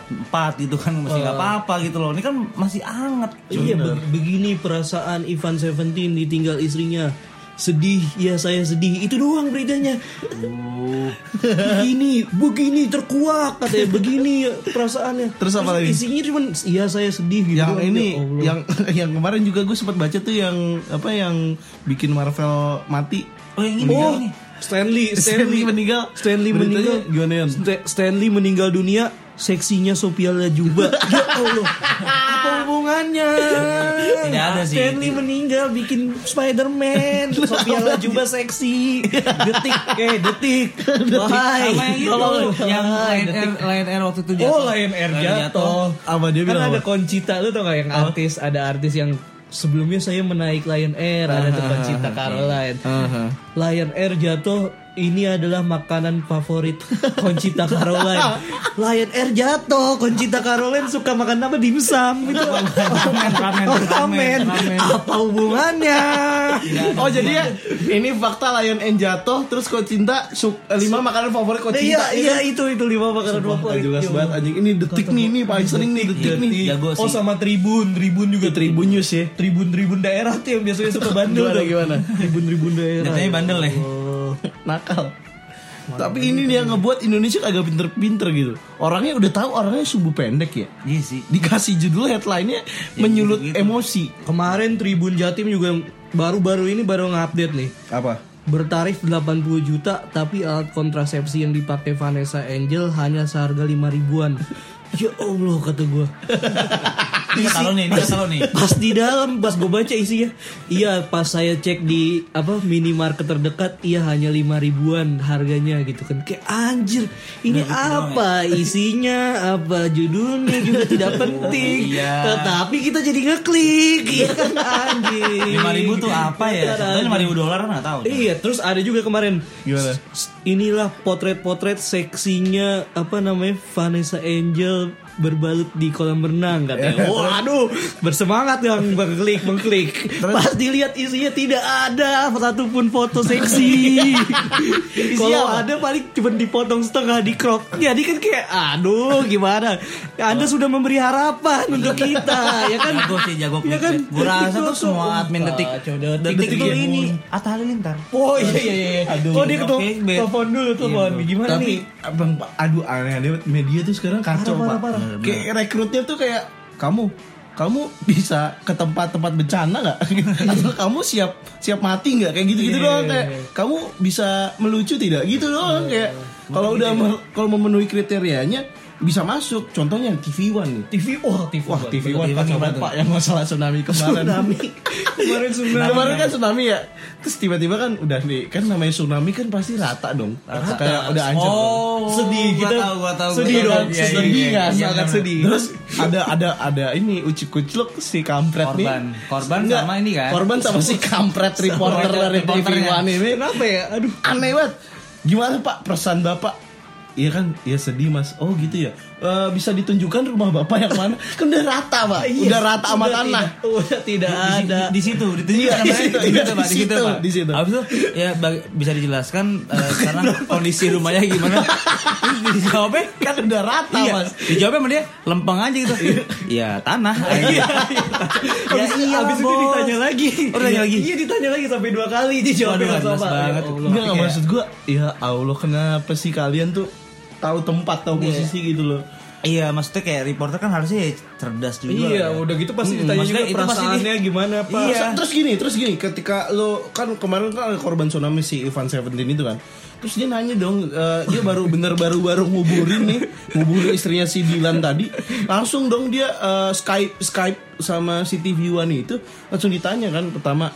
gitu kan masih Oh. nggak apa-apa gitu loh ini kan masih anget Iya be- begini perasaan Ivan Seventeen ditinggal istrinya sedih ya saya sedih itu doang beritanya Oh. begini begini terkuak katanya begini perasaannya Terus apa lagi? isinya cuma iya saya sedih gitu yang doang. ini Ya Allah. yang yang kemarin juga gue sempat baca tuh yang apa yang bikin Marvel mati oh yang Iya. ini oh yang ini. Stanley Stanley Stanley meninggal. Stanley Beritanya meninggal gimana, Yan? Sta- Stanley meninggal dunia seksinya Sophia Lajuba ya Allah apa hubungannya Tidak ada sih. Stanley meninggal bikin Spider-Man Sophia Lajuba seksi detik eh detik wahai sama yang itu yang Ah, Lion Air, Lion Air waktu itu jatuh Oh Lion Air jatuh Apa dia bilang Kan ada apa? Concita lu tau gak yang artis Ada artis yang sebelumnya saya menaik Lion Air Ada tuh Concita Caroline Oh. Lion Air jatuh ini adalah makanan favorit Concita Caroline. Lion Air jatuh, Concita Caroline suka makan apa dimsum itu. Ramen, ramen, ramen, ramen. Oh, Apa hubungannya? Oh jadi ya ini fakta Lion N jatuh terus kau cinta su- eh, lima makanan favorit kau Oh, Iya, cinta. iya itu itu lima makanan favorit. jelas Ya banget Allah. anjing ini detik nih ini paling sering nih detik nih. Iya, jago sih Oh sama Tribun, Tribun juga Tribun News ya. Tribun-tribun daerah tuh yang biasanya suka bandel Gimana tuh. gimana? Tribun-tribun daerah. Jatuhnya bandel ya. Nakal. Tapi ini dia ngebuat Indonesia kagak pinter-pinter gitu. Orangnya udah tahu orangnya sumbu pendek ya. Iya sih. Dikasih judul headline-nya Iya, menyulut emosi. Kemarin Tribun Jatim juga yang baru-baru ini baru nge-update nih. Apa? Bertarif 80 juta tapi alat kontrasepsi yang dipakai Vanessa Angel hanya seharga 5 ribuan. ya Allah kata gua. Ini kata lo nih, ini kata lo nih. Pas di dalam pas gua baca isinya. Iya, pas saya cek di apa minimarket terdekat iya hanya 5 ribuan harganya gitu kan. Kayak anjir, ini gitu apa ya? isinya, apa judulnya juga tidak penting. Oh, iya. Tetapi kita jadi ngeklik. Iya kan anjir. Lima ribu tuh apa Iya. ya? Contohnya lima ribu dolar nggak tahu. Iya, terus ada juga kemarin. Gimana? S- Inilah potret-potret seksinya apa namanya Vanessa Angel berbalut di kolam renang katanya. Waduh, bersemangat yang mengklik mengklik. Pas dilihat isinya tidak ada satupun foto seksi. Iya. Kalau ada paling cuma dipotong setengah di crop. Jadi kan kayak aduh gimana? Anda sudah memberi harapan untuk kita ya kan? Jago sih jago Iya kan? clickbait. Gua rasa tuh Itu semua tuh. admin detik Kacau, detik, detik Ah, detik tuh ya. ini Atta Halilintar. Oh iya iya iya. Aduh. oh dia ketua Clickbait. telepon dulu telepon. Gimana nih? Tapi abang, aduh aneh aneh banget. media tuh sekarang kacau Parah, pak. parah, parah. Kayak rekrutnya tuh kayak kamu kamu bisa ke tempat-tempat bencana nggak? Gitu. Atau kamu siap siap mati nggak? Kayak gitu-gitu doang kayak kamu bisa melucu tidak? Gitu doang kayak kalau udah me- kalau memenuhi kriterianya bisa masuk. Contohnya TV One nih. TV, wah TV. Wah TV One kacau banget pak yang masalah tsunami kemarin Kemarin Nah, tsunami. kemarin kan tsunami ya Terus tiba-tiba kan udah nih Kan namanya tsunami kan pasti rata dong Kayak udah ancur dong. Oh, Sedih, gua kita tahu, gua tahu, sedih gua tahu. dong, Iya, iya, sedih iya, kan, iya, sangat benar. sedih. Terus ada ada ada ini uci kucluk si kampret Korban. nih Korban Nggak, sama ini kan? Korban sama si kampret reporter dari TV reporternya. One ini Kenapa ya? Aduh. Aneh banget Gimana pak perasaan bapak Iya kan, ya sedih mas. Oh gitu ya. Eh, bisa ditunjukkan rumah bapak yang mana? Kan udah rata pak, Iya. udah rata sama Udah tanah. tidak- Udah tidak Di- di- ada. Di, di situ, ditunjukkan Iya, di namanya. situ, Di iya, situ, di Pak, di situ, situ, Pak. di situ. Habis itu ya bag- bisa dijelaskan eh, sekarang kondisi rumahnya gimana? Terus dijawabnya Kan udah rata Iya, mas. dijawabnya sama dia lempeng aja gitu. ya tanah. Iya. ya iya. Habis itu Bos. ditanya lagi. Oh, ditanya lagi. Iya ditanya lagi sampai dua kali dia jawabnya Waduh, nggak males sama. banget. Ya Allah. Enggak, enggak maksud gue Ya Allah kenapa sih kalian tuh Tahu tempat, tahu posisi gitu loh Iya, maksudnya kayak reporter kan harusnya ya cerdas juga. lah ya. Iya, udah gitu Mm, pasti ditanya maksudnya juga itu pasti di- perasaannya gimana, Pak. Iya. Terus- Terus gini, terus gini Ketika lo Kan kemarin kan ada korban tsunami si Ivan Seventeen itu kan Terus dia nanya dong eh, Dia baru bener baru-baru nguburin nih Nguburin istrinya si Dilan tadi Langsung dong dia eh, Skype Skype sama si TV One itu Langsung ditanya kan Pertama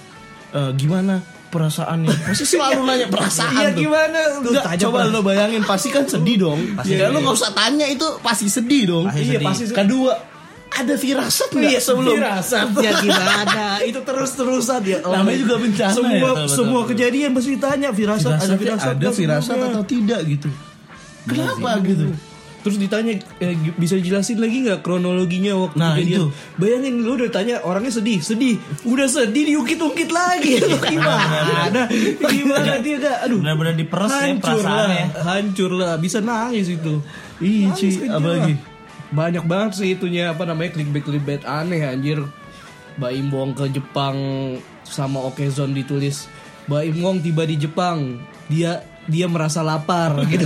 eh, Gimana perasaannya Pasti selalu nanya perasaan Iya tuh. gimana? Nggak, coba lo bayangin pasti kan sedih dong. ya lo nggak usah tanya itu pasti sedih dong. Pasti iya sedih. pasti. sedih. Kedua ada firasat nggak Iya, sebelum? Iya, Firasatnya gimana? Iya, Itu terus-terusan ya. Allah. Namanya juga bencana semua ya. Betul, semua kejadian pasti ditanya firasat, Firasatnya ada firasat ada nggak firasat sebelumnya? atau tidak gitu. Kenapa gitu? Terus ditanya eh, gi- bisa dijelasin lagi nggak kronologinya waktu Nah, itu. kejadian? Bayangin lu udah tanya orangnya sedih, sedih, udah sedih diungkit-ungkit lagi. Lu Nah, gimana? Nah, gimana dia gak? Aduh, Benar-benar diperes ya hancur lah, perasaannya. hancur lah, bisa nangis itu. Ih, Nangis cuy, kejer apa lah. lagi? Banyak banget sih itunya apa namanya clickbait clickbait aneh anjir. Baim Wong ke Jepang sama Okezon ditulis Baim Wong tiba di Jepang dia dia merasa lapar gitu.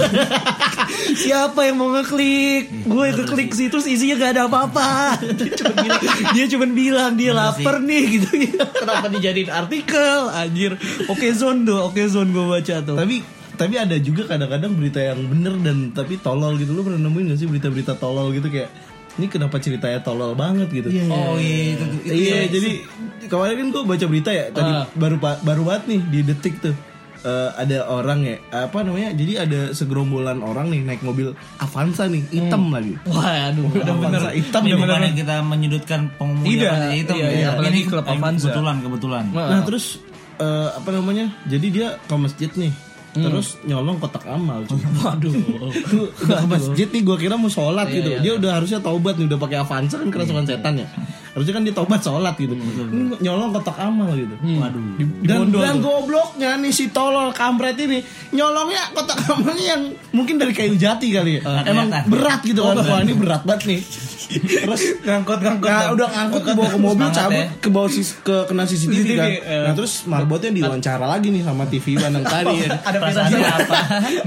Siapa yang mau ngeklik? Gue ngeklik sih terus isinya gak ada apa-apa. Dia cuman bilang, dia cuman bilang dia lapar nih gitu. Iya Kenapa dijadiin artikel anjir. Okezon tuh, Okezon gue baca tuh. Tapi tapi ada juga kadang-kadang berita yang bener dan tapi tolol gitu. Lo pernah nemuin gak sih berita-berita tolol gitu kayak ini kenapa ceritanya tolol banget gitu? Oh iya, itu, itu- itu Iya, yang- jadi kemarin kan gue baca berita ya tadi baru pa- baru banget nih di detik tuh Eh, ada orang ya apa namanya jadi ada segerombolan orang nih naik mobil Avanza nih hitam lagi Hmm. Waduh, udah Avanza hitam Ini ya bukan yang kita menyudutkan pengemudi Tidak, apa itu iya, iya, apalagi klub eh, Avanza. kebetulan kebetulan nah terus eh, apa namanya jadi dia ke masjid nih terus nyolong kotak amal cuy. Hmm. waduh udah ke masjid nih gue kira mau sholat gitu dia udah harusnya taubat nih udah pakai Avanza kan kerasukan setan ya harusnya kan dia taubat sholat gitu Ini nyolong kotak amal gitu waduh Dan, dan gobloknya nih si tolol kampret ini nyolongnya kotak amalnya yang mungkin dari kayu jati kali ya. Emang Oh, kelihatan. Oh, berat gitu kan. Wah ini berat banget nih. Terus ngangkut ngangkut nah, udah ngangkut ke bawah ke mobil Semangat cabut ya. ke bawah sis, ke kena CCTV CCTV, kan. eh. Nah terus marbotnya diwawancara lagi nih sama TV One yang tadi. ya. ada perasaan apa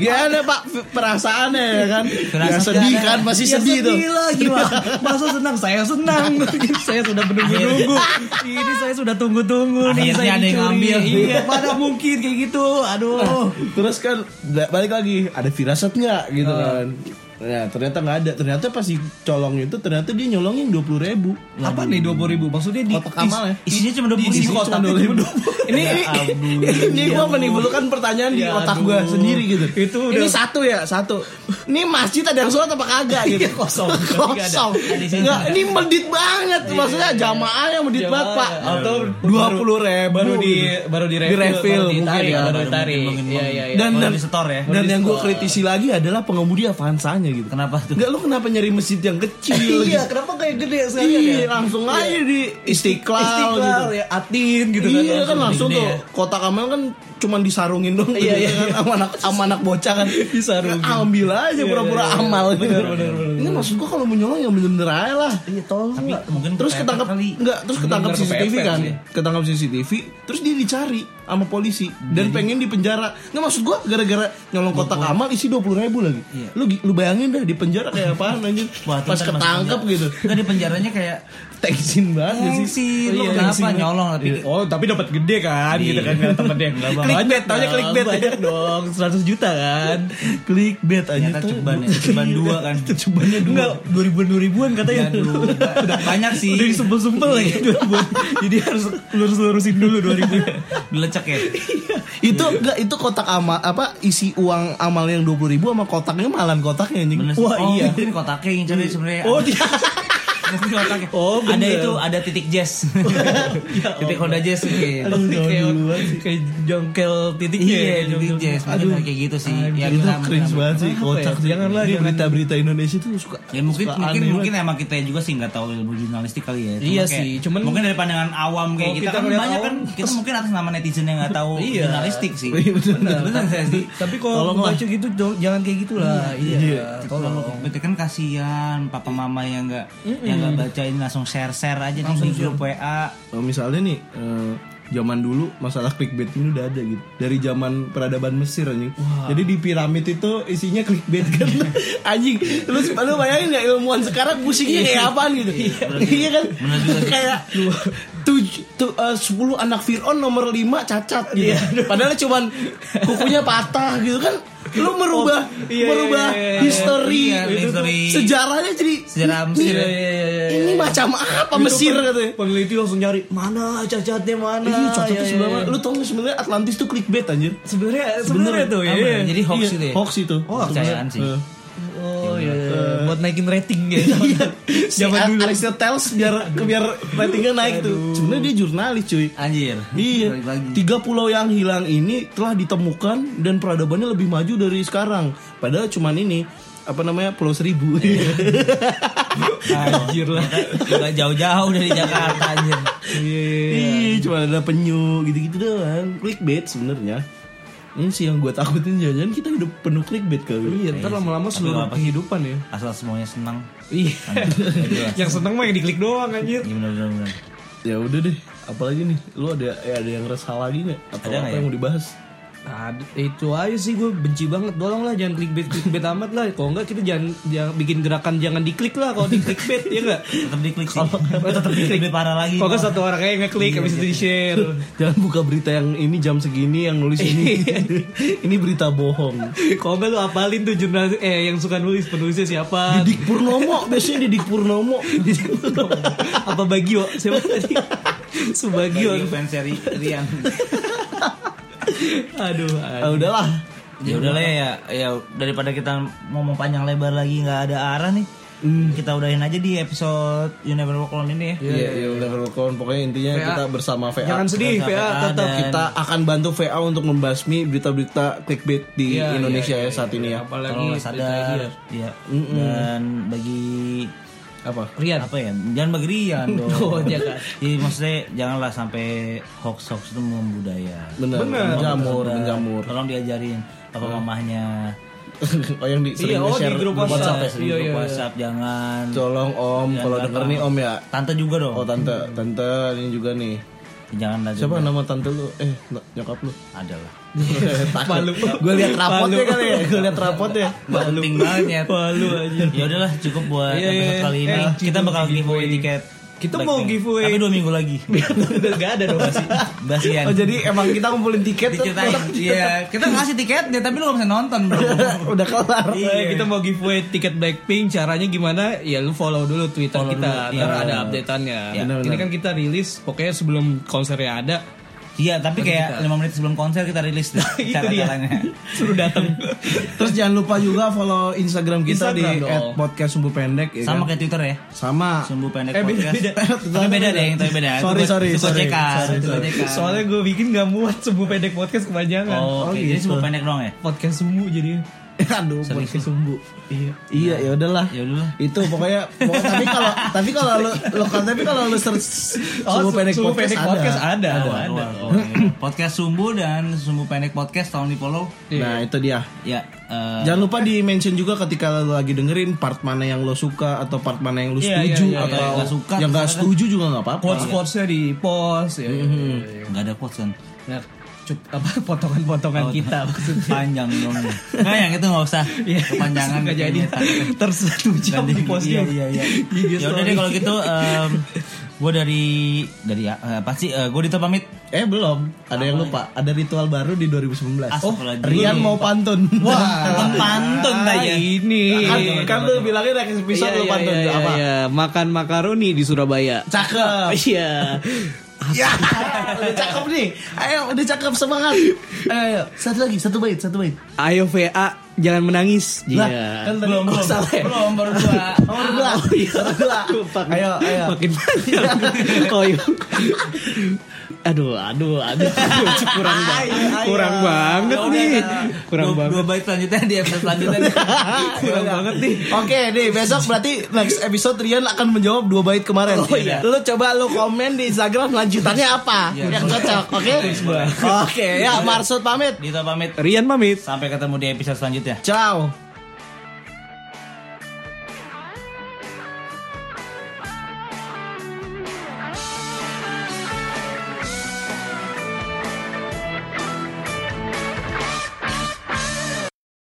Gimana Pak perasaannya ya kan? Ya Perasaan sedih gak ada. Iya, kan pasti Ya sedih tuh. lagi Pak. Masa senang? Saya senang. Nah. saya sudah menunggu-nunggu. Ini saya sudah tunggu-tunggu Akhirnya nih. Saya ada yang dicuri. ngambil. Iya, mana mungkin kayak gitu. Aduh. Terus kan da- balik lagi ada firasat nggak gitu kan? Nah ternyata nggak ada. Ternyata pas si colong itu ternyata dia nyolongin dua puluh ribu. Nah. Apa nih 20 ribu? Maksudnya di Kotak amal ya? isinya cuma dua puluh Isi kotak dua ribu. Ya Ini ini Ya ini gue menimbulkan kan pertanyaan di otak gue sendiri gitu. Itu ini udah- satu ya satu. Ini masjid ada yang sholat apa kagak gitu? Kosong. Kosong. Nggak, ini medit banget. Maksudnya jamaahnya medit banget pak. Atau Dua puluh ribu. baru di baru di refill, refill baru ditarik, mungkin ya. baru ditarik. Iya, iya, iya. dan Baru dan, di setor ya? dan yang gue kritisi lagi adalah pengemudi Avanzanya gitu. Kenapa tuh? Enggak lu kenapa nyari masjid yang kecil? gitu? Iya, kenapa kayak gede sekalian Iya, langsung aja di Istiqlal, Istiqlal gitu. ya, Atin gitu iya kan Langsung langsung gede tuh ya. kota Kamal kan cuman disarungin dong iya, iya, kan sama anak sama anak bocah kan disarungin ambil aja Iya, pura-pura amal gitu ini maksud gua kalau mau nyolong ya bener-bener aja lah iya tolong Tapi lah. mungkin terus kepepet ketangkap kali. enggak terus ketangkap bener-bener CCTV kepepet kan sih. ketangkap CCTV terus dia dicari sama polisi dan pengen dipenjara nggak maksud gua gara-gara nyolong kotak Iya. amal isi dua puluh ribu lagi lu lu bayangin dah di penjara kayak apaan anjir Wah, pas tuntutan ketangkep penjara. gitu Enggak di penjaranya kayak tensin banget Iya, gak Thanks Oh, sih, lu kenapa nyolong Iya. tapi Iya. Oh tapi dapat gede kan gitu kan nggak temennya nggak Clickbait, taunya Nah, clickbait. ya. banyak dong 100 juta kan clickbait aja Oh, ternyata ceban ya, ceban dua kan. Cebannya Enggak, 2000-an 2000-an katanya. Iya, Udah banyak sih. Iya. Udah disumpel-sumpel lagi 2000-an. Jadi harus lurus-lurusin dulu 2000. Dilecek ya. itu Iya. enggak itu kotak amal apa isi uang amal yang dua puluh ribu sama kotaknya malan kotaknya anjing Bener sih. wah oh, iya Mungkin kotaknya yang cari sebenarnya. Oh, dia Mungkin kotaknya. Oh, ada bener. Ya itu ada titik jazz. titik Honda jazz mungkin. kayak kayak jongkel titiknya. ya, Iya, titik jazz. Mungkin kayak gitu sih. Ya, itu kita- cringe banget sih kocak sih. Jangan lah, Ini jangan. berita-berita Indonesia tuh suka Ya mungkin suka mungkin aneh mungkin emang kita juga sih nggak tahu ilmu jurnalistik kali ya. Cuma Iya kayak- sih, cuman- mungkin dari pandangan awam kayak Kalau kita, kita kan ngeliat banyak kan awam, kita mungkin atas nama netizen yang nggak tahu Iya. jurnalistik sih. Iya, bener. Bener saya sih. Tapi kalau Tolonglah. baca gitu dong, jangan kayak gitulah. Iya, Tolong Betul kan kasihan papa mama yang nggak yang nggak bacain langsung share share aja di grup WA. banget. Oh, misalnya nih eh, zaman dulu masalah clickbait ini udah ada gitu dari zaman peradaban Mesir anjing jadi di piramid itu isinya clickbait kan anjing lu lu bayangin nggak ilmuwan sekarang pusingnya kayak apaan gitu iya kan kayak tuj- tu- eh, 10 anak Fir'aun nomor 5 cacat gitu padahal cuman kukunya patah gitu kan lu merubah iya, merubah iya, iya, iya. history, Iya, gitu tuh. history. sejarahnya jadi Sejarah Mesir. Iya, ini, ini macam apa Gitu, Mesir katanya Peneliti Iya. langsung nyari mana cacatnya mana. Iya, cocoknya Iya, iya, sebenarnya. iya. Lu tau gak sebenarnya Atlantis tuh clickbait anjir. Sebenarnya sebenarnya tuh ya. Apa ya? Jadi hoax Iya, itu ya. Hoax itu. Oh, kepercayaan sih. Eh, Oh iya, iya. buat naikin rating ya. Iya. Si Zaman dulu Aristoteles biar biar ratingnya naik tuh. Sebenarnya dia jurnalis cuy. Anjir. Iya, Balik lagi. tiga pulau yang hilang ini telah ditemukan dan peradabannya lebih maju dari sekarang. Padahal cuman ini apa namanya Pulau Seribu. Anjir lah. Gak jauh-jauh dari Jakarta anjir. Iya, cuma ada penyu gitu-gitu doang. Clickbait sebenarnya. Ini sih yang gue takutin jangan-jangan kita udah penuh clickbait kali. Iya, ntar lama-lama seluruh apa sih? kehidupan ya. Asal semuanya senang. Iya. Yang seneng mah yang diklik doang anjir. Iya benar benar. Ya udah deh, apalagi nih, lu ada ya ada yang resah lagi nggak? Atau Ada apa nggak yang ya? mau dibahas? Nah, itu aja sih gue benci banget. Tolong lah jangan clickbait clickbait amat lah. Kalau enggak kita jangan, jangan bikin gerakan jangan diklik lah kalau di clickbait ya enggak. Tetap diklik sih. Tetap diklik. Lebih parah lagi. Oh, Kalau enggak satu orang aja ngeklik habis itu di-share. Jangan buka berita yang ini jam segini yang nulis ini. ini berita bohong. Kalau enggak lu apalin tuh jurnal eh yang suka nulis penulisnya siapa? Didik Purnomo, biasanya Didik Purnomo. Apa Bagio? Siapa tadi? Subagio. Bagi fans seri Rian. Aduh. Ah, udahlah. Ya udahlah ya, ya daripada kita ngomong panjang lebar lagi nggak ada arah nih. Hmm. Kita udahin aja di episode You Never Walk Alone ini ya. Iya, iya udah berlakon. Pokoknya intinya VA. kita bersama VA. Jangan sedih, Sampai VA tetap ada. kita akan bantu VA untuk membasmi berita-berita clickbait di Iya, Indonesia ya saat ini iya. ya. apalagi Kalau berita sadar, dia. ya. Dan bagi Apa? Rian. apa ya? Jangan bagi Rian dong. Oh, jangan. Jadi maksudnya janganlah sampai hoax hoax itu membudaya. Benar. Bener. Menjamur, Tolong- menjamur. Iya. Tolong diajarin papa mamahnya. oh yang di, sering Iya, oh, di share grup WhatsApp. WhatsApp. ya? Sering Iya, grup iya, iya. WhatsApp jangan. Tolong Om, kalau Jangan, denger Om. nih Om ya. Tante juga dong. Oh tante, tante ini juga nih. Jangan lagi. Siapa nama tante lu? Eh, no- nyokap lu. Adalah. Malu. Gue liat rapotnya kali ya. Gue liat rapotnya. Nggak penting banget ya. Palu aja. Ya udahlah cukup buat Iya, episode iya. kali ini. Eh, kita bakal giveaway tiket. Kita Blackpink. mau giveaway. Tapi dua minggu lagi. Udah enggak ada dong. Basian. Oh jadi emang kita ngumpulin tiket diceritain. Iya, kita ngasih tiket ya tapi lu gak bisa nonton, Bro. udah kelar. Eh, kita mau giveaway tiket Blackpink caranya gimana ya lu follow dulu Twitter Follow kita dulu, ntar iya. ada updateannya Iya, ini kan kita rilis pokoknya sebelum konsernya ada Iya, tapi kayak 5 menit sebelum konser kita rilis deh Itu dia. cara-caranya. Iya, suruh datang Terus jangan lupa juga follow Instagram kita di Instagram dong. @podcastsumberpendek ya Sama kan? kayak Twitter ya. Sama. Sumbu pendek Iya. Eh, beda- podcast. beda. Tapi beda deh, tapi beda. Itu Sorry, buat- sorry, itu buat sorry. cekan, Sorry, itu buat sorry. cekan. soalnya kan- gue bikin gak muat sembuh pendek podcast kepanjangan Iya kan. Oh, oke. Jadi gitu. sumbu pendek dong ya. podcast sembuh jadi Aduh, Serius pakai lu? sumbu. Iya. Iya, ya udahlah. Ya udahlah. Itu pokoknya, pokoknya- tapi kalau tapi kalau lu, lu kan, tapi kalau lu search Oh, sumbu pendek Oh, Sumbu podcast, Pendek ada. Podcast ada. ada. Wah, wah, wah, Oh, iya. podcast Sumbu dan Sumbu Pendek Podcast tahun di follow. Nah, itu dia. Ya, eh, Jangan lupa di mention juga ketika lo lagi dengerin part mana yang lo suka atau part mana yang lo Iya, iya, setuju iya, atau iya, yang nggak suka, yang nggak misalkan. setuju juga nggak apa-apa. Quotes-quotesnya di post. Iya, Ya, ya, ya, ya. nggak ada quotes kan? Nah, cup- apa potongan-potongan Oh, kita Oh, maksudnya. Iya. panjang dong nggak yang itu nggak usah kepanjangan gitu nggak jadi. terus satu jam di postnya. iya iya iya ya udah deh kalau gitu em gue dari dari eh, apa sih eh, gue Dito pamit Eh belum, ada yang lupa. Ada ritual baru di 2019. Oh, Astagfirullahaladzim. Rian mau pantun. Tentang pantun ya. Nah, tanya Iya. ini kan, kan lu bilangin next episode lu pantun apa? iya. makan makaroni di Surabaya Cakep. iya Ya, udah cakep nih. Ayo, udah cakep semangat. Ayo, ayo. Satu lagi, satu bait, satu bait. ayo VA jangan menangis Lah, iya kan tadi belum, belum, ya? belum baru dua. Oh, baru dua. Baru dua. Ayo, ayo. makin panjang oh iya aduh aduh aduh kurang banget kurang banget nih kurang dua, banget dua baik selanjutnya di episode selanjutnya Kurang banget nih. Iya. Oke, nih besok berarti next episode Rian akan menjawab dua bait kemarin. Lu coba lu komen di Instagram lanjutannya apa yang cocok, oke? Oke, ya Marsud pamit. Dito pamit Rian pamit sampai ketemu di episode selanjutnya Ciao.